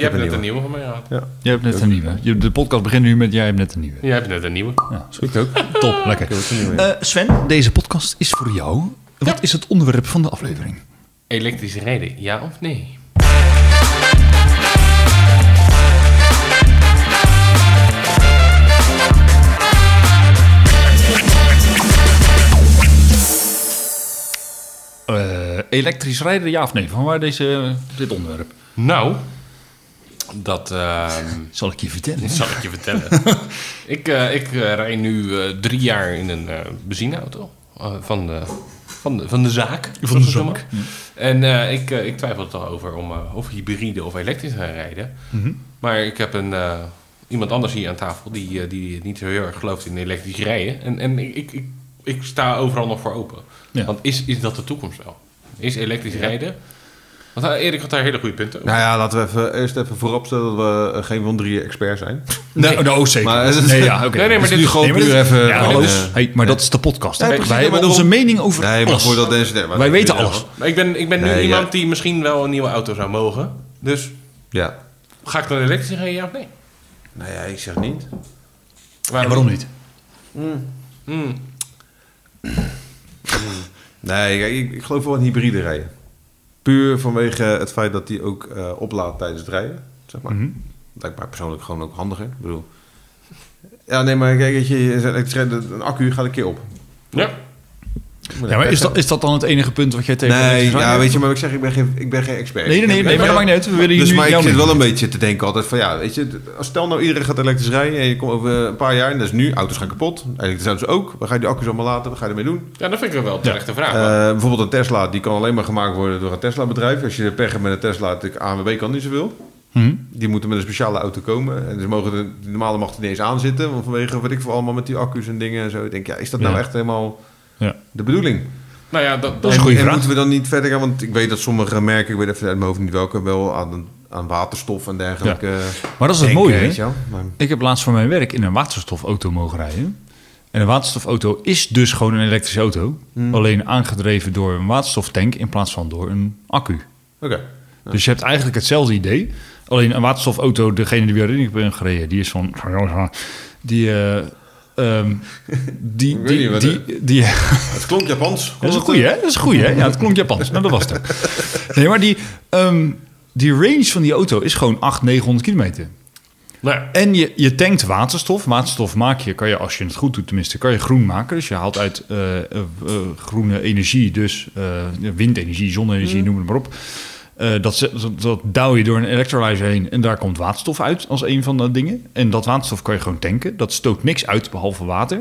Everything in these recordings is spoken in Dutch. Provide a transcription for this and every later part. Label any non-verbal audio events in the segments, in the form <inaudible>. Je hebt een net een nieuwe van mij gehad. Je hebt net een nieuwe. Je- De podcast begint nu met jij hebt net een nieuwe. Ah, Je hebt net een nieuwe. Ja, is Ik ook. goed. Top, lekker. nieuwe. Eh, Sven, deze podcast is voor jou. Wat is het onderwerp van de aflevering? Elektrisch rijden, ja of nee? Eh, elektrisch rijden, ja of nee? Van waar deze, dit onderwerp? Nou, dat ehm, Zal ik je <laughs> vertellen. dat zal ik je vertellen. <laughs> ik eh, ik eh, rij nu eh, drie jaar in een eh, benzineauto eh, van, de, van, de, van de zaak. zoals we het noemen. En eh, ik, eh, ik twijfel het al over om eh, of hybride of elektrisch te gaan rijden. Maar ik heb een, eh, iemand anders hier aan tafel die, eh, die niet zo heel erg gelooft in elektrisch rijden. En, en ik, ik, ik, ik sta overal nog voor open. Ja. Want is, is dat de toekomst wel? Is elektrisch rijden? Want eh, Erik had daar hele goede punten over. <laughs> Nou ja, laten we even, eerst even vooropstellen dat we eh, geen van drieën expert zijn. Nee, Nee. nou, zeker. Maar- nee, ja, oké. Nee, nee, maar dit Het is nu is- gewoon Nee, maar puur dit- even... ja, gewoon, alles. eh, Hey, maar dat is de podcast. Ja, Wij- precies, Wij maar hebben daarom- onze mening over Nee, maar alles. voordat deze... nee, maar Wij dat- weten ja. alles. Maar ik ben, ik ben nu Nee, iemand ja. die misschien wel een nieuwe auto zou mogen. Dus Ja. ga ik dan elektrisch rijden, ja of nee? Nou ja, ik zeg niet. En waarom niet? Hmm. Nee, kijk, ik, ik geloof wel in hybride rijden. Puur vanwege het feit dat die ook eh, oplaadt tijdens het rijden, zeg maar. Mhm. Lijkt mij persoonlijk gewoon ook handiger. Ik bedoel... Ja, nee, maar kijk, weet je, je zegt, elektrisch rijden, een accu gaat een keer op. Ja. Ja, maar is dat, is dat dan het enige punt wat jij tegen Nee, elektrisch rijden- ja, weet je, maar ik zeg, ik ben geen, ik ben geen expert. Nee, nee, nee, Ik- nee, maar dat maakt niet uit. We willen hier Dus nu maar ik jouw zit mening. wel een beetje te denken altijd van ja, weet je, als stel nou iedereen gaat elektrisch rijden en je komt over een paar jaar en dat is nu, auto's gaan kapot, elektrische auto's ook, waar ga je die accu's allemaal laten, wat ga je ermee doen? ja, dat vind ik wel een terechte vraag. Eh, maar- bijvoorbeeld een Tesla, die kan alleen maar gemaakt worden door een Tesla bedrijf. Als je pech hebt met een Tesla, natuurlijk ANWB kan niet zoveel. Hm? Die moeten met een speciale auto komen. En ze mogen de, de normale mag er niet eens aan zitten. Want vanwege wat ik voor allemaal met die accu's en dingen en zo. Ik denk, ja, is dat nou Ja. echt helemaal Ja. de bedoeling? nou ja, dat, Dat dat is en, een goede en vraag. moeten we dan niet verder gaan? Want ik weet dat sommige merken, ik weet even uit mijn hoofd niet welke, wel aan, aan waterstof en dergelijke. Maar dat is het denken, mooie, weet hè? je wel. Maar- Ik heb laatst voor mijn werk in een waterstofauto mogen rijden. En een waterstofauto is dus gewoon een elektrische auto. Hmm. Alleen aangedreven door een waterstoftank in plaats van door een accu. Oké. Dus je hebt eigenlijk hetzelfde idee. Alleen een waterstofauto, degene die we erin ben gereden, die is van... Die... eh, ehm, die, Ik weet die, niet wat die, die, <laughs> Het klonk Japans. dat is een goeie, hè? Dat is een goeie, hè? Ja, het klonk Japans. Nou, dat was het. Nee, maar die, ehm, die range van die auto is gewoon 800, 900 kilometer. nou, ja, En je, je tankt waterstof. Waterstof maak je, kan je, als je het goed doet tenminste, kan je groen maken. Dus je haalt uit eh, eh, eh, groene energie, dus eh, windenergie, zonne-energie, noem het maar op. Eh, dat, ze- dat, dat douw je door een electrolyzer heen en daar komt waterstof uit als een van de dingen. En dat waterstof kan je gewoon tanken. Dat stoot niks uit behalve water.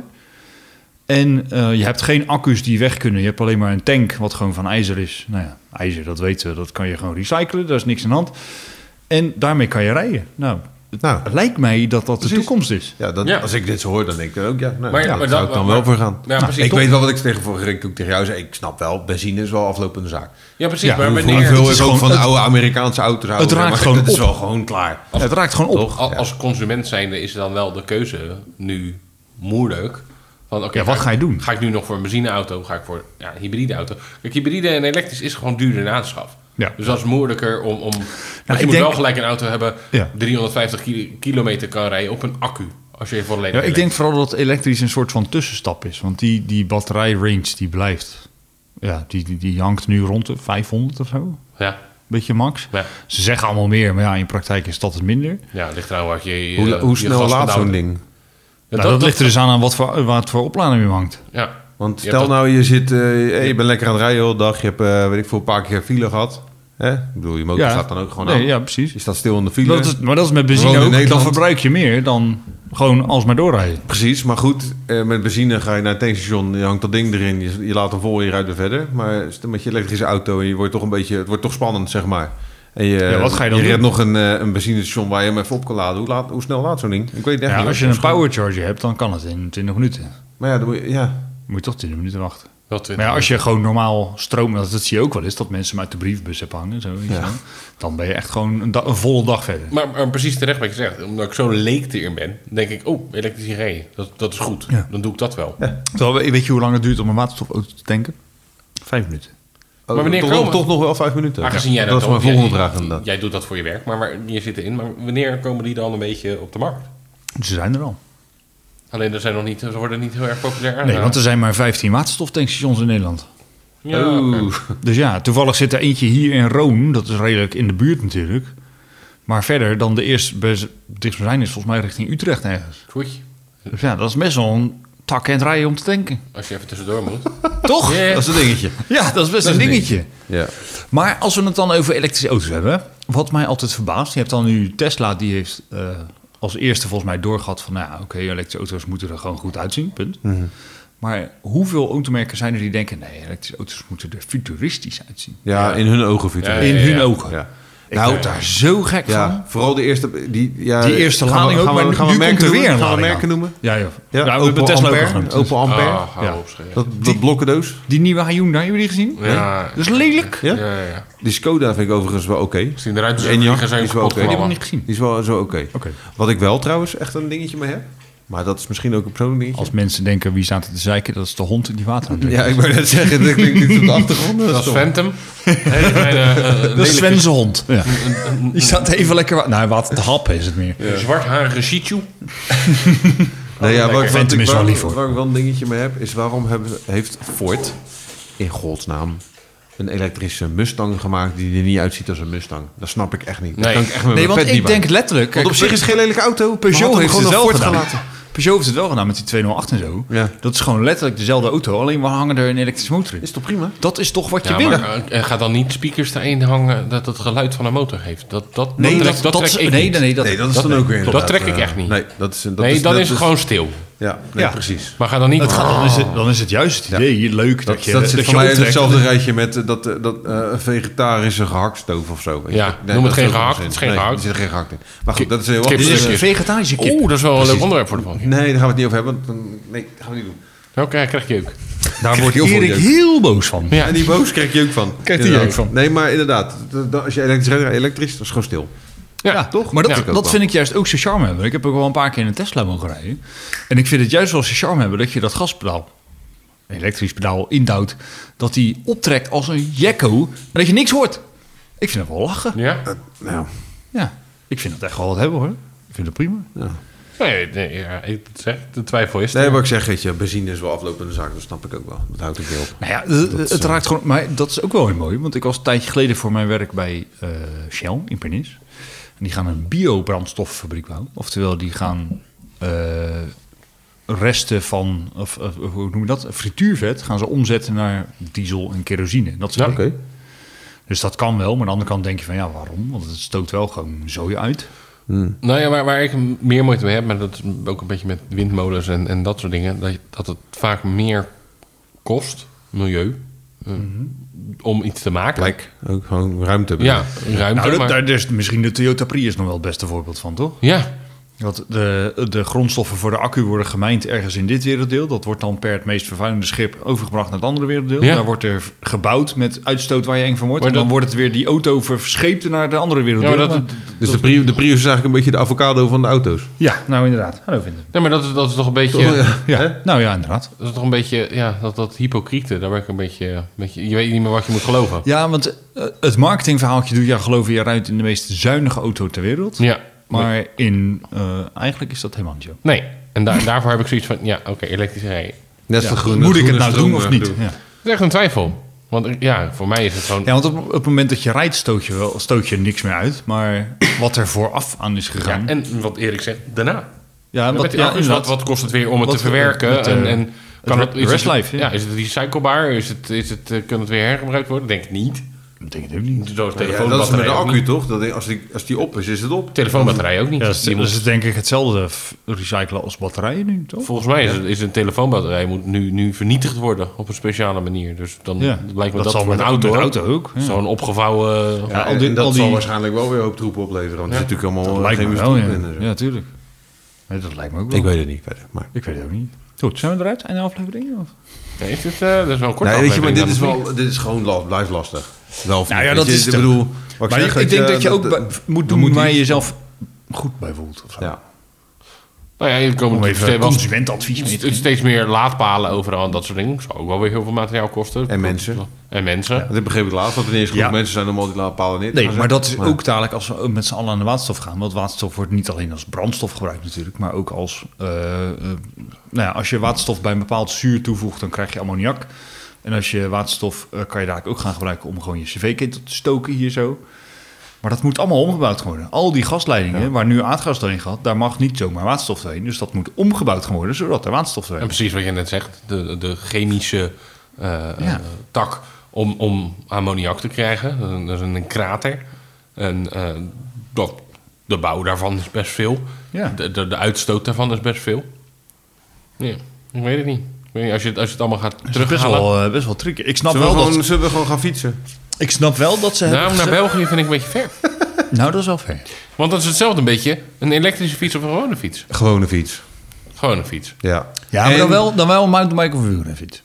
En eh, je hebt geen accu's die weg kunnen. Je hebt alleen maar een tank wat gewoon van ijzer is. Nou ja, ijzer, dat weten we. Dat kan je gewoon recyclen. Daar is niks aan de hand. En daarmee kan je rijden. Nou, Nou, het lijkt mij dat dat de Precies. toekomst is. ja, dat, Ja. als ik dit zo hoor, dan denk ik ook, ja, nou, Maar- maar ja, daar dat- zou ik dan maar- wel voor gaan. Nou, Ja, precies, ik toch? weet wel wat ik tegen vorige keer ook tegen jou zei. Ik snap wel, benzine is wel aflopende zaak. ja, precies. Ja, maar hoeveel- wanneer, Hoeveel het is is ook gewoon- van de het- oude Amerikaanse auto's houden. raakt maar gewoon Dat is op. wel gewoon klaar. Ja, het raakt gewoon op. Toch? al- als consument zijnde is dan wel de keuze nu moeilijk. Van, oké, Ja, wat ga je ik- doen? Ga ik nu nog voor een benzineauto? Ga ik voor ja, een hybride auto? Kijk, hybride en elektrisch is gewoon duurder in aanschaf. Ja. Dus dat is moeilijker om... om want je ik moet denk- wel gelijk een auto hebben... Ja. 350 ki- kilometer kan rijden op een accu. Als je voor alleen Ja, ik denk vooral dat elektrisch een soort van tussenstap is. Want die, die batterijrange die blijft. Ja, die, die, die hangt nu rond de 500 of zo. Ja, Beetje max. ja. Ze zeggen allemaal meer, maar ja, in praktijk is dat het minder. ja ligt er aan wat je... Hoe, eh, hoe je snel gaspedaal laat zo'n doet. ding? Ja, Nou, dat, ligt er dus aan aan wat voor, wat voor oplading je hangt. Ja. Want Je stel hebt nou, je, zit, eh, hey, je bent lekker aan het rijden heel de dag. Je hebt, eh, weet ik veel, een paar keer file gehad. Hè? Ik bedoel, je motor staat dan ook gewoon aan. nee, Ja, precies. Je staat stil in de file. Dat is, maar dat is met benzine Gewoon in ook. Dan Nederland. verbruik je meer dan gewoon alsmaar doorrijden. Precies, maar goed, eh, met benzine ga je naar het tankstation, je hangt dat ding erin, je, je laat hem vol, je rijdt weer verder. Maar stel met je elektrische auto, je wordt toch een beetje, het wordt toch spannend, zeg maar. En je, Ja, wat ga je dan je doen? redt nog een, eh, een benzinestation waar je hem even op kan laden. Hoe, laat, hoe snel laat zo'n ding? Ik weet het echt Ja, niet. als je hoor. een powercharger hebt, dan kan het in 20 minuten. Maar ja, dan moet je- ja. Moet je toch 20 minuten wachten. Wel 20 Maar ja, als je gewoon normaal stroom, dat, dat zie je ook wel eens, dat mensen hem uit de briefbus hebben hangen. Zo, weet je Ja. wel. Dan ben je echt gewoon een, da- een volle dag verder. Maar, maar precies terecht wat je zegt. Omdat ik zo leek erin ben, denk ik, oh, elektrisch rijden, dat, dat is goed. Ja. Dan doe ik dat wel. Ja. Terwijl, we- weet je hoe lang het duurt om een waterstofauto te tanken? Vijf minuten. maar wanneer toch, komen- toch nog wel vijf minuten. Aangezien jij dat is ook- mijn volgende jij- vraag inderdaad. Jij doet dat voor je werk, maar, maar je zit erin. Maar wanneer komen die dan een beetje op de markt? Ze zijn er al. Alleen er zijn nog niet, ze worden niet heel erg populair Nee, aangeraakt. want er zijn maar 15 waterstoftankstations in Nederland. Ja, Oeh. oké. Dus ja, toevallig zit er eentje hier in Roon. Dat is redelijk in de buurt natuurlijk. Maar verder dan de eerste best- dichtstbijzijn is volgens mij richting Utrecht ergens. Foei. Dus ja, dat is best wel een tak en het rijden om te tanken. Als je even tussendoor <laughs> moet. Toch? Ja. Dat is een dingetje. Ja, dat is best een dingetje. Ja. Maar als we het dan over elektrische auto's hebben, wat mij altijd verbaast, je hebt dan nu Tesla, die heeft eh, als eerste volgens mij doorgehad van, nou ja, oké, elektrische auto's moeten er gewoon goed uitzien, punt. Maar hoeveel automerken zijn er die denken, nee, elektrische auto's moeten er futuristisch uitzien? Ja, in hun ogen vindt Ja, het. ja, In ja. hun ogen. Ja. Ik Nou, word daar zo gek Ja, van. vooral de eerste... Die, ja, Die eerste gaan we- lading ook, gaan we, maar gaan nu we merken komt er weer noemen? een Gaan we lading merken aan. noemen? Ja, joh. Ja, Nou, we hebben Opel Tesla ook al Ampère. genoemd. Opel Ampère. Ah, hou Ja. op, schreeuwen. Dat, dat blokkendoos. Die nieuwe Hyundai, hebben jullie die gezien? Ja. Dat is lelijk. Ja? Ja, ja, ja. Die Skoda vind ik overigens wel oké. Misschien eruit En Jan, zijn die is wel kapot oké. Die hebben we gevallen. niet gezien. Die is wel zo oké. Oké. Wat ik wel trouwens echt een dingetje mee heb. Maar dat is misschien ook een persoonlijk dingetje. Als mensen denken, wie staat er te zeiken? Dat is de hond die water aan het drinken Ja, ik wou net zeggen, dat klinkt iets op de achtergrond. Dat is toch- Phantom. Hele <laughs> kleine, eh, is. Dat is lelijke, Sven's hond. Ja. <laughs> Die staat even lekker... wa- Nou, water te happen is het meer. zwartharige Shichu. Nee, Oh, ja, waar, ik- Phantom wat ik is wel waar- lief, hoor. Waar ik wel een dingetje mee heb, is waarom hebben, heeft Ford in godsnaam een elektrische Mustang gemaakt die er niet uitziet als een Mustang? Dat snap ik echt niet. Dat Nee. kan ik echt met Nee, mijn want pet ik niet denk bij. letterlijk... Want kijk, op zich is het geen lelijke auto. Maar Peugeot had hem heeft het gewoon wel naar Ford gedaan. gelaten. Peugeot heeft het wel gedaan met die 208 en zo. Ja. Dat is gewoon letterlijk dezelfde auto, alleen we hangen er een elektrische motor in. Is toch prima? Dat is toch wat je Ja, wil? maar eh, ga dan niet speakers erheen hangen dat het geluid van een motor heeft. Dat, dat, Nee, dat, dat, trek, dat, dat- trek ik nee, niet. nee, nee, dat, nee, dat is dan ook weer dat inderdaad, trek ik eh, echt niet. Nee, dat is, dat nee, is, dus- dan dat is het gewoon stil. Ja, nee, Ja. precies. Maar ga dan niet... Het gaat, dan, dus- is het, dan is het juist het idee, leuk dat, Dat, je dat, zit je voor mij in optrekt. hetzelfde rijtje met eh, dat, eh, dat eh, vegetarische gehaktstoof of zo. weet je. Ja, noem het dat geen zit er gehakt, wel het is in. geen nee, gehakt. Er zit geen gehakt in. Maar goed, dat is heel Kip. Dit is Precies. Dus een vegetarische kip. Oeh, dat is wel een leuk Precies. onderwerp voor de volgende keer. Nee, daar gaan we het niet over hebben. want dan- Nee, dat gaan we niet doen. Oké, krijg je ook. Daar wordt heel veel Erik jeuk. heel boos van. Ja. En die boos krijg je ook van. Krijgt hij Inderdaad. jeuk van. Nee, maar inderdaad. d- d- Als je elektrisch rijdt, elektrisch, dat is gewoon stil. Ja, toch? Maar dat, Ja, ik ook dat wel. vind ik juist ook zo charme hebben. Ik heb ook wel een paar keer in een Tesla mogen rijden. En ik vind het juist wel zo charme hebben dat je dat gaspedaal, een elektrisch pedaal, indouwt. Dat die optrekt als een jekko. En dat je niks hoort. Ik vind dat wel lachen. Ja? Nou, Ja, ik vind dat echt wel wat hebben hoor. Ik vind het prima. Nee, nee ja, ik zeg, de twijfel is er. nee, wat ik zeg, weet je, benzine is wel aflopende zaak. Dat snap ik ook wel. Dat houdt ik heel op. Nou ja, het- het eh, raakt gewoon. Maar dat is ook wel weer mooi. Want ik was een tijdje geleden voor mijn werk bij eh, Shell in Pernis. En die gaan een biobrandstoffabriek bouwen. Oftewel, die gaan eh, resten van. Of, of- hoe noem je dat? Frituurvet gaan ze omzetten naar diesel en kerosine. Dat soort Ja, dingen. Dus dat kan wel. Maar aan de andere kant denk je van ja, waarom? Want het stoot wel gewoon zooi uit. Nou ja, waar, waar ik meer moeite mee heb, maar dat is ook een beetje met windmolens en, en dat soort dingen, dat, je- dat het vaak meer kost, milieu, eh, Mhm. om iets te maken. Plek, ook gewoon ruimte. Ja, ruimte. Nou, dat- maar- daar daar is misschien de Toyota Prius nog wel het beste voorbeeld van, toch? ja, Want de, de grondstoffen voor de accu worden gemijnd ergens in dit werelddeel. Dat wordt dan per het meest vervuilende schip overgebracht naar het andere werelddeel. Ja. Daar wordt er gebouwd met uitstoot waar je eng van wordt. Maar en dan dat- wordt het weer die auto verscheept naar de andere werelddeel. Ja, Ja, maar dat- Dus de, pri- de Prius is eigenlijk een beetje de avocado van de auto's. ja nou inderdaad. Hallo Vinder. nee, maar dat, is- dat is toch een beetje, Toch? Ja. Hè? Ja, nou ja, inderdaad. dat is toch een beetje, ja, dat, dat hypocriete, daar ben ik een beetje, een beetje, je weet niet meer wat je moet geloven. Ja, want eh, het marketingverhaaltje doet ja geloof je eruit in de meest zuinige auto ter wereld. Ja, Maar in, eh, eigenlijk is dat helemaal niet zo. nee. En <laughs> daar daarvoor heb ik zoiets van, ja, oké, elektrisch rijden. Net Ja, als de groene Moet ik het groene nou doen stroom, of eh, niet? doen. Ja. Het is echt een twijfel. Want ja, voor mij is het gewoon, Ja, want op, op het moment dat je rijdt stoot je, wel, stoot je niks meer uit. Maar wat er vooraf aan is gegaan... ja, en wat Erik zegt, daarna. Ja, Ja, wat, met die ja, accu's, wat, inderdaad. wat kost het weer om het Wat- te verwerken? met, eh, en, en kan het het, is restlife, het, ja. ja. is het recyclebaar? Is het, is het, eh, kan het weer hergebruikt worden? Denk ik niet. Ik denk het ook niet. Zo'n Ja, dat is met telefoonbatterij de ook accu, niet. toch? Dat, als, die, als die op is, is het op. Telefoonbatterij ook niet. Ja, dat is, Die dat moet- is denk ik hetzelfde f- recyclen als batterijen nu, toch? volgens mij is, het- is een telefoonbatterij moet nu, nu vernietigd worden op een speciale manier. Dus dan Ja. lijkt me Dat dat, zal voor een met- auto, met auto ook, ja. Zo'n opgevouwen... Ja, al en die- dat al die- zal waarschijnlijk wel weer een hoop troepen opleveren. Want het is natuurlijk allemaal lijkt me geen wel, ja. troep in dus- en zo. Ja, tuurlijk. Nee, dat lijkt me ook wel. Ik weet het niet verder. Maar. Ik weet het ook niet. Goed, zijn we eruit? Einde aflevering? Of? Nee, is dit, eh, dat is wel een korte Nee, weet je, maar dit is, aflevering, wel, dit is gewoon last, blijft lastig. Wel of Nou niet, ja, weet dat je, is Ik de- bedoel, wat Maar ik ik, zeg, weet denk eh, dat je ook dat- bij- moet dan doen moet waar die- je jezelf goed bij voelt. of zo. Ja. Nou ja, er komen Om natuurlijk even steeds- consumentenadvies mee te st- steeds meer laadpalen overal en dat soort dingen. Zou ook wel weer heel veel materiaal kosten. En mensen. En mensen. Dat begreep ik laatst, dat er niet eens genoeg Ja. mensen zijn om al die laadpalen neer te Nee, gaan maar dat zetten. is ook dadelijk als we met z'n allen aan de waterstof gaan. Want waterstof wordt niet alleen als brandstof gebruikt natuurlijk, maar ook als... eh, eh, nou ja, als je waterstof bij een bepaald zuur toevoegt, dan krijg je ammoniak. En als je waterstof eh, kan je dadelijk ook gaan gebruiken om gewoon je cv-ketel te stoken hier zo. Maar dat moet allemaal omgebouwd worden. Al die gasleidingen waar nu aardgas doorheen gaat, daar mag niet zomaar waterstof doorheen. Dus dat moet omgebouwd gaan worden, zodat er waterstof En doorheen precies wat je net zegt, de, de chemische eh, eh, tak om, om ammoniak te krijgen. Dat is een- Dat is een, krater. En eh, dat, de bouw daarvan is best veel. Ja. De, de, de uitstoot daarvan is best veel. Ja, ik weet het niet. Ik weet niet, Als je, het- als je het allemaal gaat Dat is best terughalen. wel, eh, best wel tricky. Ik snap, Zullen wel we, dat, gewoon, zullen we gewoon gaan fietsen? ik snap wel eh, dat ze Nou, hebben naar gezegd- België vind ik een beetje ver. Nou, dat is wel ver. Want dat is hetzelfde een beetje. Een elektrische fiets of een gewone fiets. Gewone fiets. Gewoon een fiets. Ja. Ja, maar En- dan wel, dan wel een mountainbike of een wielrenfiets.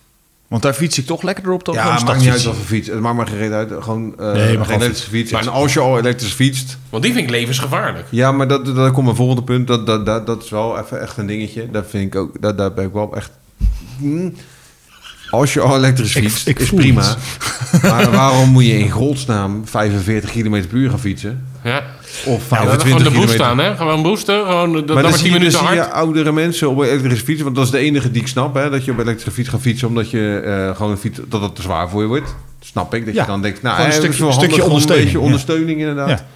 Want daar fiets ik toch lekkerder op dan Ja, gewoon het maakt niet uit stadsfiets. wat voor fiets. Het maakt maar geen reden uit. Gewoon eh, maar gewoon geen elektrische fiets. En als je al elektrisch fietst... Want die vind ik levensgevaarlijk. Ja, maar dat, dat, komt mijn volgende punt. Dat, dat, dat, dat is wel even echt een dingetje. Dat vind ik ook... Dat, daar ben ik wel echt... Hmm. Als je al elektrisch Ik- fietst, ik is voel prima. Maar waarom moet je in godsnaam 45 km per uur gaan fietsen? Ja. Of Ja, laten we gewoon 25 de boost kilometer. aan, hè? Gewoon boosten. Gewoon, dat, Maar dan dan maar 10 zie, je, dus dan minuten zie hard. je oudere mensen op een elektrische fiets. Want dat is de enige die ik snap. Hè, dat je op een elektrische fiets gaat fietsen. Omdat je eh, gewoon een fiets, dat het te zwaar voor je wordt. Dat snap ik. Dat Ja, je dan denkt, nou, gewoon een hè, het is stukje- wel handig, stukje gewoon Een beetje ondersteuning, ondersteuning inderdaad. Ja.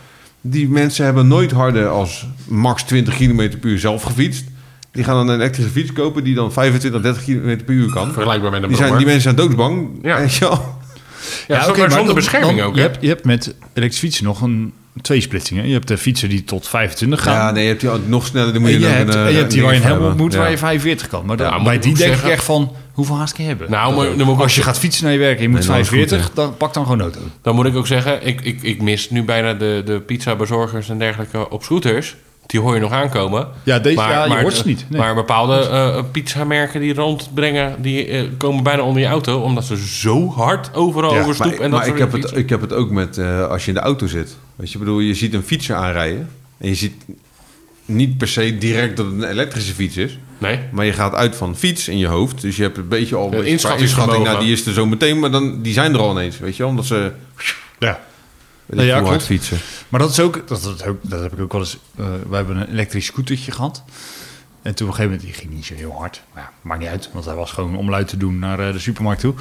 Die mensen hebben nooit harder als max 20 km per uur zelf gefietst. Die gaan dan een elektrische fiets kopen die dan 25, 30 km per uur kan. Vergelijkbaar met een Die, zijn, brommer. die mensen zijn doodsbang. <laughs> Ja. weet je wel. Ja, zo- oké, maar maar zonder dan- bescherming dan- ook, Je hè? hebt, je hebt met elektrische fietsen nog een tweesplitsing. Hè? Je hebt de fietsen die tot 25 gaan. Ja, nee, je hebt die al- nog sneller. Dan moet en je, je, dan hebt, een, eh, en je hebt die een waar je een ding helm voor op moet, hebben. Ja. waar je 45 kan. Maar dan- Ja, moet bij ik die ook denk ik zeggen- echt van, hoeveel haast kan je hebben? Nou, maar dan moet, ik ook, Als je gaat fietsen naar je werk en je moet Nee, dat is goed, 45, dan pak dan gewoon auto. dan moet ik ook zeggen, ik, ik, ik mis nu bijna de, de pizzabezorgers en dergelijke op scooters. Die hoor je nog aankomen. Ja, deze- ja, je hoort ze de- niet. Nee. Maar bepaalde eh pizzamerken die rondbrengen, die eh, komen bijna onder je auto. Omdat ze zo hard overal Ja, over stoep maar en dat maar ik, soort heb dingen het, ik heb het ook met eh, als je in de auto zit. Weet je, ik bedoel, je ziet een fietser aanrijden. En je ziet niet per se direct dat het een elektrische fiets is. fietsen. Nee, Maar je gaat uit van fiets in je hoofd. Dus je hebt een beetje al een Ja, beetje qua inschattingsvermogen. inschatting. Nou, die is er zo meteen. Maar dan, die zijn er al ineens. Weet je, wel, omdat ze Ja. weet ik ja, hoe hard klopt. fietsen. Maar dat is ook, dat, dat, ook- dat heb ik ook wel eens. eh wij hebben een elektrisch scootertje gehad. En toen op een gegeven moment, die ging niet zo heel hard. Maar ja, maakt niet uit, want hij was gewoon om luid te doen naar eh, de supermarkt toe.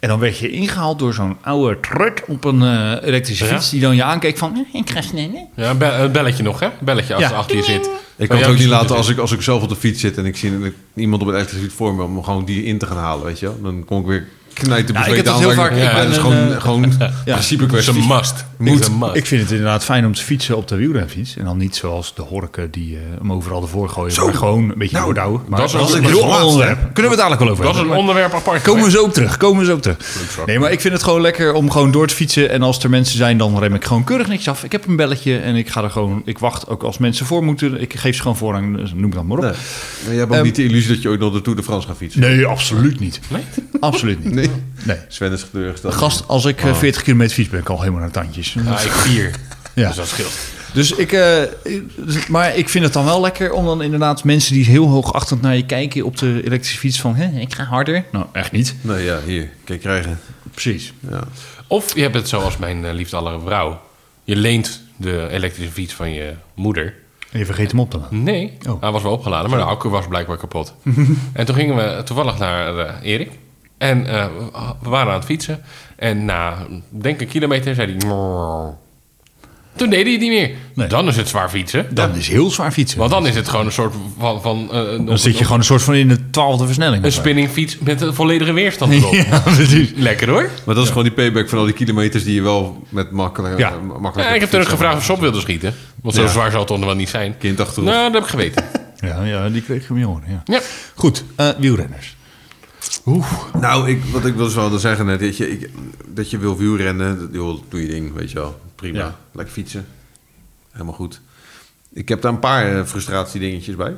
En dan werd je ingehaald door zo'n oude trut op een eh, elektrische Ja. fiets. Die dan je aankeek van, "Eh, ik ga sneller. ja, een be- een belletje nog, hè? Belletje als Ja. het achter je zit. Ik Maar kan ja, het ook dus- niet laten als ik, als ik zelf op de fiets zit. En ik zie een- iemand op een elektrische fiets voor me. Om gewoon die in te gaan halen. Weet je, wel. dan kom ik weer knijten. Ja, ik heb dat bezweet heel aan, vaak- maar- ik maar ben dat is een, gewoon, <laughs> eh, gewoon principe Het is kwestie. een must. Het Moet. is een must. Ik vind het inderdaad fijn om te fietsen op de wielrenfiets. En dan niet zoals de horken die eh, hem overal ervoor gooien. maar gewoon een beetje nou, doordouwen. Maar dat is een- heel dat is een ander laatste, onderwerp. Kunnen we het dadelijk wel over dat is hebben. een onderwerp apart. Komen we zo op terug, komen we zo op terug. Nee, maar ik vind het gewoon lekker om gewoon door te fietsen. En als er mensen zijn, dan rem ik gewoon keurig niks af. Ik heb een belletje en ik ga er gewoon... Ik wacht ook als mensen voor moeten. Ik geef ze gewoon voorrang, dus noem dat maar op. Nee. Maar je hebt ook Ehm, niet de illusie dat je ooit nog de Tour de France gaat fietsen. Nee, absoluut niet. Nee? Absoluut niet. Nee. Nee. Sven is teleurgesteld. Gast, als ik eh, 40 kilometer fiets ben, ik al helemaal naar de tandjes. Ja, ik vier. Ja. Dus dat scheelt. Dus ik, eh, dus- maar ik vind het dan wel lekker om dan inderdaad mensen die heel hoogachtend naar je kijken op de elektrische fiets van, hè, ik ga harder. Nou, echt niet. Nee, ja, hier. Kijk, krijgen. Precies. Of je hebt het zoals mijn eh, liefde allere vrouw. Je leent de elektrische fiets van je moeder. En je vergeet hem op te laten. Nee, Oh. hij was wel opgeladen, maar de accu was blijkbaar <laughs> kapot. en toen gingen we toevallig naar eh, Erik. En eh, we waren aan het fietsen. En na, denk een kilometer, zei hij... "Mrrr." Toen deed hij het niet meer. Nee. Dan is het zwaar fietsen. Dan is heel zwaar fietsen. Want dan is het gewoon een soort van... van eh, Dan zit je gewoon een soort van in de twaalfde versnelling. Een of zo. <laughs> spinningfiets met een volledige weerstand erop. Ja, precies. Lekker hoor. Maar dat is gewoon die payback van al die kilometers die je wel met makkelijk... Ja. eh, makkelijk Ja, ik heb toen ook gevraagd of ze op wilden schieten. Want zo Ja. zwaar zal het onder wel niet zijn. Kind achterop. Nou, dat heb ik <laughs> geweten. Ja, ja, die kreeg ik hem jongen. Ja. ja. Goed, eh, wielrenners. Nou, ik, wat ik wel eens wilde zeggen net, dat je, ik, dat je wil wielrennen, dat, joh, doe je ding, weet je wel. Prima. Ja. Lekker fietsen. Helemaal goed. Ik heb daar een paar eh, frustratiedingetjes bij.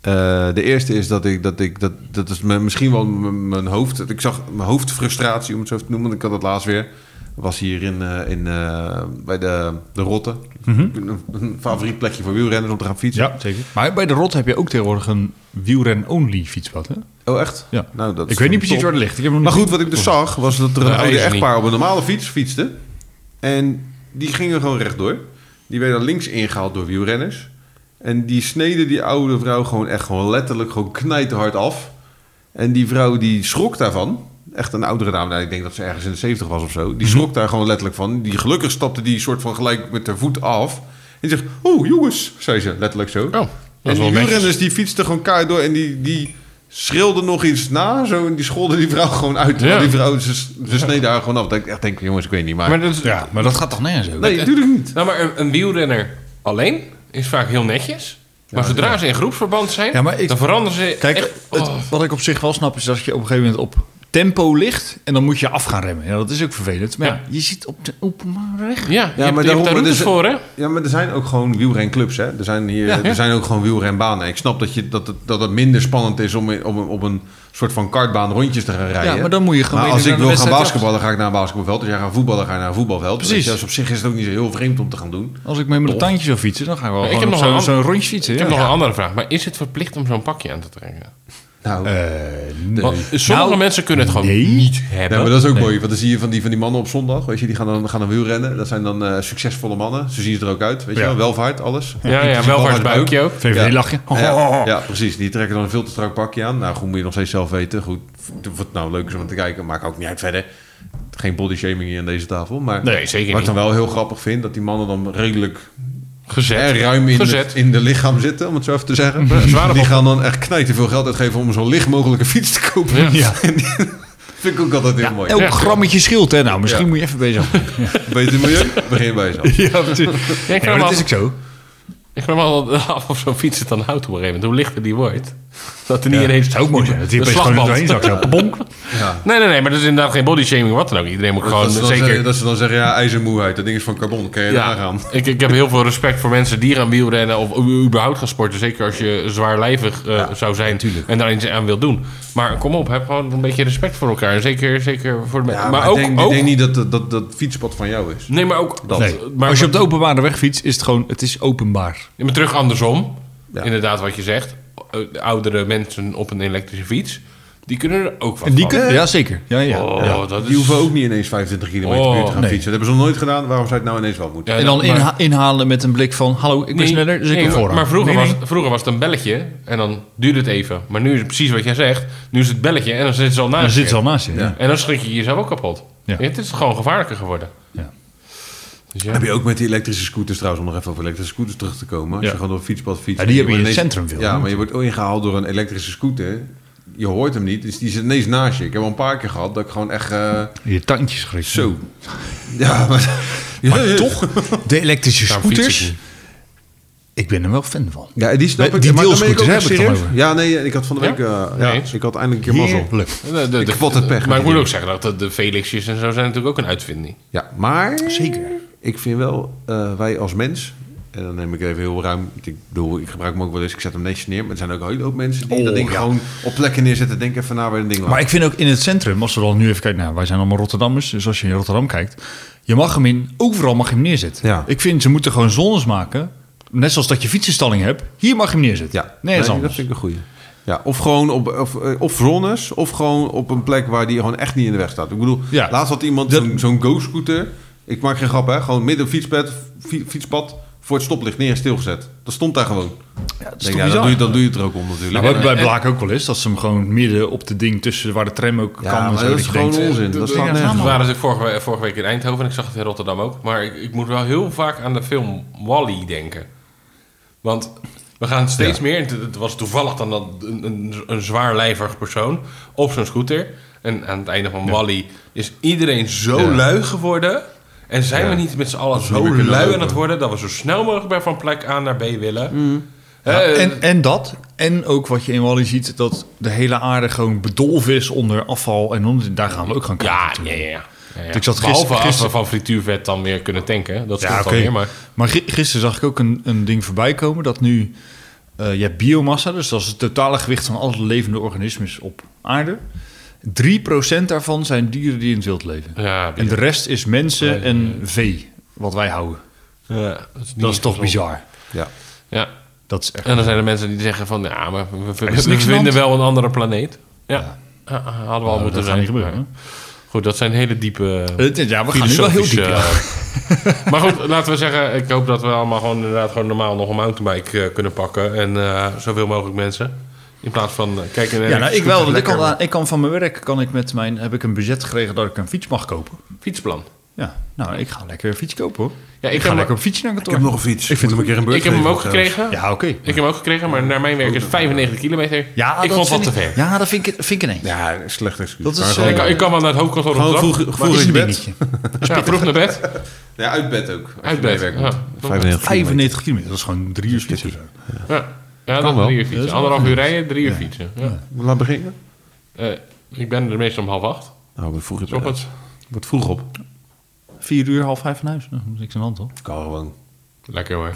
Eh, de eerste is dat ik, dat ik, dat, dat is mijn- misschien wel mijn mijn hoofd, ik zag mijn hoofdfrustratie, om het zo te noemen, want ik had het laatst weer. Was hier in, eh, in, eh, bij de, de Rotte. Mhm. Een, een favoriet plekje voor wielrenners om te gaan fietsen. Ja, zeker. Maar bij de Rot heb je ook tegenwoordig een wielren-only fietspad, hè? Oh, echt? Ja. Nou, dat ik weet niet precies waar waar het ligt. Ik heb hem Maar niet- goed, wat ik dus zag was dat er een Ja, oude is er niet. echtpaar op een normale fiets fietste. En die gingen gewoon rechtdoor. Die werden links ingehaald door wielrenners. En die sneden die oude vrouw gewoon echt gewoon letterlijk gewoon knijterhard af. En die vrouw die schrok daarvan. Echt een oudere dame, nou, ik denk dat ze ergens in de 70 was of zo. Die schrok daar gewoon letterlijk van. Die gelukkig stapte die soort van gelijk met haar voet af. En die zegt, oh jongens, zei ze letterlijk zo. Oh, dat En is die wel netjes. wielrenners die fietsten gewoon kaart door en die, die schreeuwden nog iets na. Zo, en die scholden die vrouw gewoon uit. Ja. Maar Die vrouw, ze, ze sneden haar gewoon af. Dat ik echt denk, jongens, ik weet niet. Maar, Maar dat is, Ja, maar dat gaat toch nergens over? nee, natuurlijk niet. Nou, maar een, een wielrenner alleen is vaak heel netjes. Maar zodra ze in groepsverband zijn, Ja, maar ik- dan veranderen ze Kijk, echt- het- oh. wat ik op zich wel snap is dat je op een gegeven moment op tempo ligt en dan moet je af gaan remmen. Ja, dat is ook vervelend. Maar ja, Ja. je zit op de openbare weg. Ja, je hebt, maar je hebt daarom, daar routes dus- voor, Oh, hè? Ja, maar er zijn ook gewoon wielrenclubs. Hè? Er, zijn hier, Ja, ja. er zijn ook gewoon wielrenbanen. Ik snap dat, je, dat, het, dat het minder spannend is om in- op, een- op een soort van kartbaan rondjes te gaan rijden. Ja, maar dan moet je gewoon Maar weer als naar ik de wil gaan wedstrijd basketballen, ga ik naar een basketbalveld. Als jij gaat voetballen, ga je naar een voetbalveld. Precies. Weet je, Dus op zich is het ook niet zo heel vreemd om te gaan doen. Als ik met mijn tandje zou fietsen, dan ga ik wel Ik gewoon heb op nog een oh, zo'n an- zo'n rondje fietsen. Ik ja. heb nog een andere vraag. Maar is het verplicht om zo'n pakje aan te trekken? Nou, Eh, nee. Want sommige Nou, mensen kunnen het gewoon nee. niet Ja, hebben. maar dat is ook mooi. Want dan zie je van die, van die mannen op zondag. Weet je, die gaan dan, gaan dan wielrennen. Dat zijn dan eh, succesvolle mannen. Zo zien ze er ook uit. Weet je Ja. wel, welvaart, alles. ja, ja, welvaartsbuikje ook. VVD Ja. lachje. Ja, ja, precies. Die trekken dan een veel te strak pakje aan. Nou, goed, moet je nog steeds zelf weten. Goed, of het nou leuk is om te kijken, maakt ook niet uit verder. Geen body shaming hier aan deze tafel. Maar Nee, zeker wat ik dan niet. wel heel grappig vind, dat die mannen dan redelijk Gezet. eh, ruim in, Gezet. het, in de lichaam zitten, om het zo even te zeggen. die gaan dan echt knijten veel geld uitgeven om zo'n licht mogelijke fiets te kopen. Ja. Ja. En die- <laughs> vind ik ook altijd heel mooi. Elk Ja. grammetje scheelt, hè? Nou, misschien Ja. moet je even bezig. Beter milieu, begin bij jezelf. <laughs> ja, natuurlijk. Ja, ik Nee, vraag maar me dat af- is ook zo. ik vraag me altijd <laughs> af of zo'n fiets het dan houdt op een gegeven moment. Hoe lichter die wordt. Dat er niet ineens... zou ook mooi zijn. Dat je De opeens gewoon slagband. doorheen zakt. zo. Bonk. Ja. Nee, nee, nee. Maar dat is inderdaad geen body shaming of wat dan ook. Iedereen moet gewoon dat, ze dan zeker... zeggen, dat ze dan zeggen, ja, ijzermoeheid, dat ding is van carbon, kan je daar aangaan. ik, ik heb heel veel respect voor mensen die gaan wielrennen of u- überhaupt gaan sporten. Zeker als je zwaarlijvig eh, zou zijn en daar iets aan wilt doen. Maar kom op, heb gewoon een beetje respect voor elkaar. En Zeker, zeker voor de mensen. Ja, maar ook, ik, denk, ik ook- denk niet dat dat, dat dat fietspad van jou is. Nee, maar ook <laughs> dat. Nee. Maar, Als je op de openbare weg fietst, is het gewoon, het is openbaar. maar terug andersom. Ja. Inderdaad, wat je zegt. Eh, Oudere mensen op een elektrische fiets. Die kunnen er ook wat En die van. kunnen, ja, zeker. Ja, ja. Oh, ja. dat Die is... hoeven ook niet ineens 25 kilometer per uur te gaan Oh, nee. fietsen. Dat hebben ze nog nooit gedaan, waarom zou het nou ineens wel moeten? Ja, En dan maar- inha- inhalen met een blik van... Hallo, ik ben Nee, sneller, dus ik nee, heb voorrang. Maar vroeger, Nee, nee. Was, vroeger was het een belletje en dan duurde het even. Maar nu is het precies wat jij zegt. Nu is het belletje en dan zit ze al naast Dan zit je. ze al naast je. Ja. En dan schrik je jezelf ook kapot. Ja. Het is gewoon gevaarlijker geworden. Ja. Dus ja. Heb je ook met die elektrische scooters trouwens, om nog even over elektrische scooters terug te komen. Als Ja. je gewoon door het fietspad fietst. Ja, die hebben wordt in het ineens- centrum veel, Ja, hè, maar je wordt ingehaald door een elektrische scooter. Je hoort hem niet, dus die zit ineens naast je. Ik heb al een paar keer gehad dat ik gewoon echt... eh, Je tandjes schrikken. zo. Ja, maar... Maar <laughs> Ja, toch, de elektrische Daarom fiets ik scooters... Ik, niet. ben er wel fan van. Ja, die snap Nee, ik. die maar dan ben ik ook deelscooters, hè, echt heb ik het dan serieus. over. Ja, nee, ik had van de week... eh, Nee, ja, eens. ik had eindelijk een keer mazzel. Heerlijk. De, de, Ik vat het pech met Maar ik die moet ook zeggen dingen. dat de, de Felixjes en zo zijn natuurlijk ook een uitvinding. Ja, maar... Zeker. Ik vind wel, eh, wij als mens... En dan neem ik even heel ruim... Ik bedoel, ik gebruik hem ook wel eens. Ik zet hem netjes neer. Maar er zijn ook een hele hoop mensen die Oh, dat ding ja. gewoon op plekken neerzetten. Denk even na waar een ding Maar lag. ik vind ook in het centrum, als we dan nu even kijken... Nou, wij zijn allemaal Rotterdammers, dus als je in Rotterdam kijkt... Je mag hem in, overal mag je hem neerzetten. Ja. Ik vind, ze moeten gewoon zones maken. Net zoals dat je fietsenstalling hebt. Hier mag je hem neerzetten. Ja, Nergens Nee, dat anders. vind ik een goeie. Ja, of gewoon op, of, eh, of zones, of gewoon op een plek waar die gewoon echt niet in de weg staat. Ik bedoel, Ja. laatst had iemand Dat- zo'n, zo'n go-scooter. Ik maak geen grap, hè. Gewoon midden op fietspad, fi- fietspad voor het stoplicht neer en stilgezet. Dat stond daar gewoon. Ja, dat is Denk, toch ja, dan, bizar? doe je, dan doe je het er ook om natuurlijk. Nou, wat Ja, bij Blaak ook wel is, dat ze hem gewoon midden op de ding tussen waar de tram ook Ja, kan. en maar zo, dat is je gewoon denkt, onzin. Dat eh, staat ja, nergens We op. maar- waren natuurlijk vorige, we- vorige week in Eindhoven en ik zag het in Rotterdam ook. Maar ik, ik moet wel heel vaak aan de film Wally denken. Want we gaan steeds meer, en het- het was toevallig dan dat een, een, een zwaarlijvig persoon op zo'n scooter. En aan het einde van Wally is iedereen zo Ja. lui geworden. En zijn we Ja. niet met z'n allen niet zo meer kunnen lui aan lopen. het worden dat we zo snel mogelijk bij van plek A naar B willen? Hè, Ja, eh, nou, en, en dat. En ook wat je in Wally ziet, dat de hele aarde gewoon bedolven is onder afval. En onder, daar gaan we ook gaan kijken. ja, ja, natuurlijk. ja, ja. Ja, ja. Ik zat Behalve gister- als we gister- van frituurvet dan weer kunnen tanken. Dat Ja, stond dan oké. weer, maar... Maar gi- gisteren zag ik ook een, een ding voorbij komen dat nu... eh, je hebt biomassa, dus dat is het totale gewicht van alle levende organismen op aarde. 3% daarvan zijn dieren die in het wild leven. Ja, En de rest is mensen Nee, en vee, wat wij houden. ja, dat is, niet Dat is toch gezond. bizar. Ja. Ja. Dat is echt... En dan zijn er mensen die zeggen van, ja, maar we, we- is we niks aan de vinden hand. wel een andere planeet. Ja, Ja. Ah, ah, hadden we al Nou, moeten dat gaat zijn. niet gebeuren. Maar Goed, dat zijn hele diepe... hè? Eh, Ja, we gaan nu wel heel diep. ja. filosofische, eh, <laughs> maar goed, laten we zeggen, ik hoop dat we allemaal gewoon inderdaad gewoon normaal nog een mountainbike eh, kunnen pakken. En eh, zoveel mogelijk mensen. In plaats van, eh, kijk... Ja, nou, ik wel. want ik, kan, ik kan van mijn werk kan ik met mijn, heb ik een budget gekregen dat ik een fiets mag kopen. Fietsplan. Ja, nou, ik ga lekker een fiets kopen hoor. Ja, ik ik, heb ga hem- lekker een fiets naar Ik kantoor. heb nog een fiets. Ik vind Moet hem- een keer een Ik heb hem ook beurt gekregen. Ja, oké. Ik heb hem ook gekregen, maar naar mijn werk is het 95 kilometer. Ja, ik dat vond dat te vind ver. Ja, dat vind ik, vind ik een eentje. Ja, een slecht excuus. Dat is, Maar eh, gewoon- Ik, ik kan wel naar het hoofdkantoor op Gewoon de vroeg, dag. Maar vroeg het is in bed. een dingetje. Ja, vroeg naar bed, Ja, uit bed ook. uit bed. Ja, 95 kilometer, dat is gewoon drie uur fietsen. ja. ja Kan dan wel. drie uur Dat fietsen. is Anderhalf uur rijden, drie uur fietsen. Ja. Laat beginnen. Eh, ik ben er meestal om half acht. Nou, we vroeg in Dus op het- Wordt vroeg op. Vier uur, half vijf van huis. Nou, dat is niks aan de hand, hoor. Kan gewoon. Lekker hoor.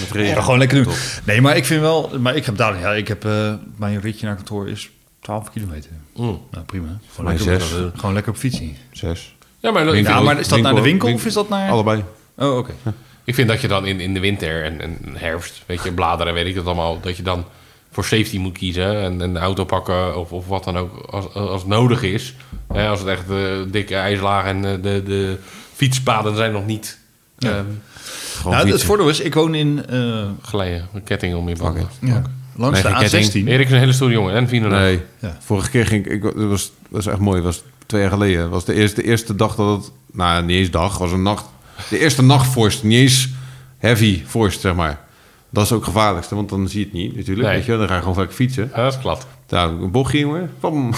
Met Ja, regen. gewoon lekker doen. Nee, maar ik vind wel... Maar ik heb daar... Ja, ik heb... eh, mijn ritje naar kantoor is 12 kilometer. Mm. Nou, prima. Gewoon Mijn lekker, op- zes. eh, gewoon lekker op fietsen. Zes. Ja, maar dat, Ja, Winkel- maar is dat naar de winkel winkel- of is dat naar... Allebei. Oh, oké. Ik vind dat je dan in, in de winter en, en herfst, weet je, bladeren, weet ik het allemaal, dat je dan voor safety moet kiezen en een auto pakken of, of wat dan ook als, als nodig is. Hè, als het echt eh, dikke ijslagen en eh, de, de fietspaden zijn nog niet ehm Gewoon Nou, het fietsen. voordeel is, ik woon in... eh glijden, een ketting om je banken. ja, langs Nee, geen de A16. ketting. Erik is een hele stoere jongen en Vino. Nee. Ja. Vorige keer ging ik... ik dat, was, dat was echt mooi. Dat was twee jaar geleden. Dat was de eerste, de eerste dag dat het... Nou, niet eens dag. was een nacht. De eerste nachtvorst. Niet eens heavy vorst, zeg maar. Dat is ook het gevaarlijkste, want dan zie je het niet natuurlijk. Nee. Weet je, wel. dan ga je gewoon vaak fietsen. Ja, dat is klad. Nou, een bochtje, jongen. Pam. <laughs>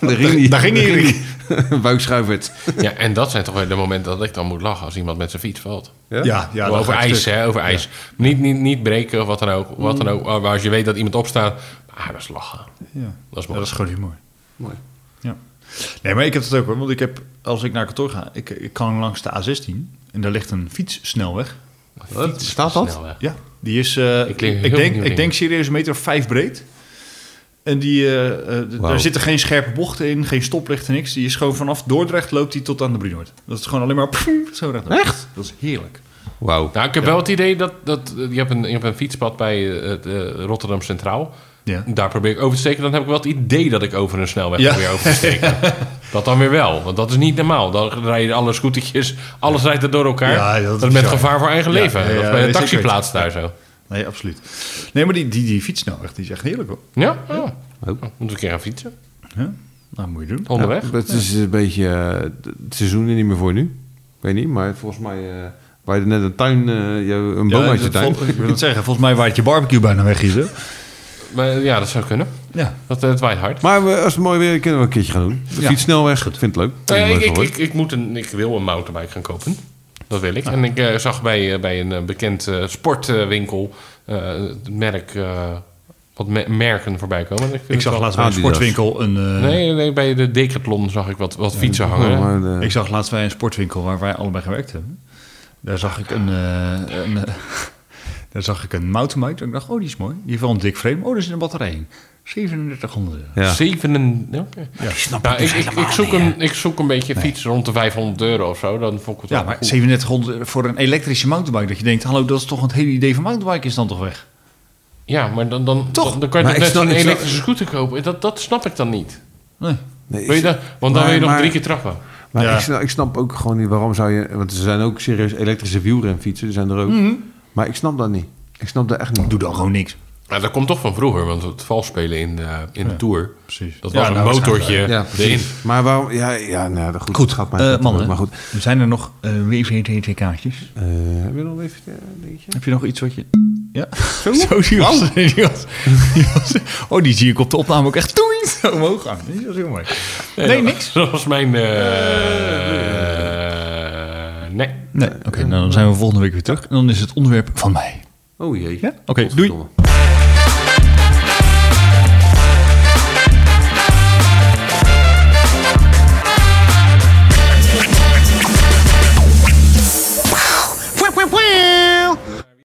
Daar ging hij. daar ging hij, <laughs> hij. Buikschuivert. Ja, en dat zijn toch weer de momenten dat ik dan moet lachen als iemand met zijn fiets valt. Ja, ja, dat over gaat ijs, stuk. hè, over ijs. Niet, niet, niet breken of wat dan ook. Wat Mm. dan ook. Oh, Maar als je weet dat iemand opstaat, ah, dat is lachen. Ja. Dat is Ja, mooi. dat is gewoon humor. Mooi. Ja. Nee, maar ik heb het ook hoor. Want ik heb, als ik naar kantoor ga, ik, ik kan langs de A16 en daar ligt een fietssnelweg. Wat? Staat dat? Snelweg. Ja, die is, eh, Ik ik, klink heel denk, nieuw ik ding. denk serieus een meter of vijf breed. En die, eh, eh, d- Wauw. daar zitten geen scherpe bochten in, geen stoplichten, niks. Die is gewoon vanaf Dordrecht loopt die tot aan de Brinoord. Dat is gewoon alleen maar pff, zo recht. Echt? Dat is heerlijk. Wauw. Nou, ik heb wel het idee dat, dat eh, je, hebt een, je hebt een fietspad bij eh, het, eh, Rotterdam Centraal. Ja. Daar probeer ik over te steken. Dan heb ik wel het idee dat ik over een snelweg Ja. probeer over te <laughs> steken. dat dan weer wel. Want dat is niet normaal. Dan rijden alle scootertjes, alles rijdt er door elkaar. Ja, dat is met bizar. gevaar voor eigen Ja, leven. ja, dat is ja, bij de nee, zeker taxiplaats daar zo. Nee, absoluut. Nee, maar die, die, die fietssnelweg, die is echt heerlijk hoor. Ja? Oh. Moeten we een keer gaan fietsen? Ja? Nou, moet je doen. Onderweg? Ja, het is een beetje... eh, het seizoen is niet meer voor nu. Ik weet niet, maar volgens mij... eh waar je net een tuin... eh, je- een boom Ja, uit je dat- tuin. vol- ik wil het zeggen, volgens mij waait je barbecue bijna weg hier. zo. Maar, eh, ja, dat zou kunnen. Ja. Dat, eh, het waait hard. Maar we- als het mooi weer is, kunnen we een keertje gaan doen. De Ja. fiets snelweg. Ik vind het leuk. Nou ja, Leuk ik, ik, gehoord. ik, ik moet een, ik wil een mountainbike gaan kopen. Dat wil ik. En ik eh, zag bij, eh, bij een eh, bekend eh, sportwinkel eh, het merk, eh, wat me- merken voorbij komen. En vind Ik het zag wel- laatst bij een Adidas. sportwinkel een. eh, Nee, nee, bij de Decathlon zag ik wat, wat fietsen hangen. Ja, maar, eh, Ik zag laatst bij een sportwinkel waar wij allebei gewerkt hebben. Daar zag ik een. eh, een eh, <laughs> daar zag ik een mountainbike. En ik dacht, oh, die is mooi. Die heeft wel een dik frame. Oh, er zit een batterij in. 3700 euro. ja. Zeven en- oké. Nou, ik, ik, ik, zoek een, ik zoek een beetje fiets rond de 500 euro of zo. Dan vond ik het Ja, wel maar goed. 3700 euro voor een elektrische mountainbike. Dat je denkt, hallo, dat is toch het hele idee van mountainbike is dan toch weg? Ja, maar dan, dan, Toch? dan, dan kan je Maar toch ik net snap- een ik snap- elektrische scooter kopen. Dat, dat snap ik dan niet. Nee. Nee, Wil je ik- dat, want dan maar- wil je nog maar- drie keer trappen. Maar Ja. ik, snap, ik snap ook gewoon niet waarom zou je... Want er zijn ook serieus elektrische wielrenfietsen. Die zijn er ook. Maar ik snap dat niet. Ik snap dat echt niet. Doe dan gewoon niks. Nou, dat komt toch van vroeger, want het valspelen in de, in de Tour... Precies. Dat Ja, was nou, een motortje Ja, erin. precies. Maar waarom... Ja, ja nou, goed. Goed, het gaat mij eh, goed, mannen. Maar goed. Er Zijn er nog eh WVTT-kaartjes? Eh, hebben we nog even eh, een dingetje? Heb je nog iets wat je... Ja, zo, die, was, die, was, die was- Oh, die zie ik op de opname ook echt toei, zo omhoog gaan. Die was heel mooi. Nee, <laughs> niks. Dat was mijn... eh, nee. Nee, oké, nou, dan zijn we volgende week weer terug. En dan is het onderwerp van mij. Oh jee. Ja? Oké, doei. Godverdomme.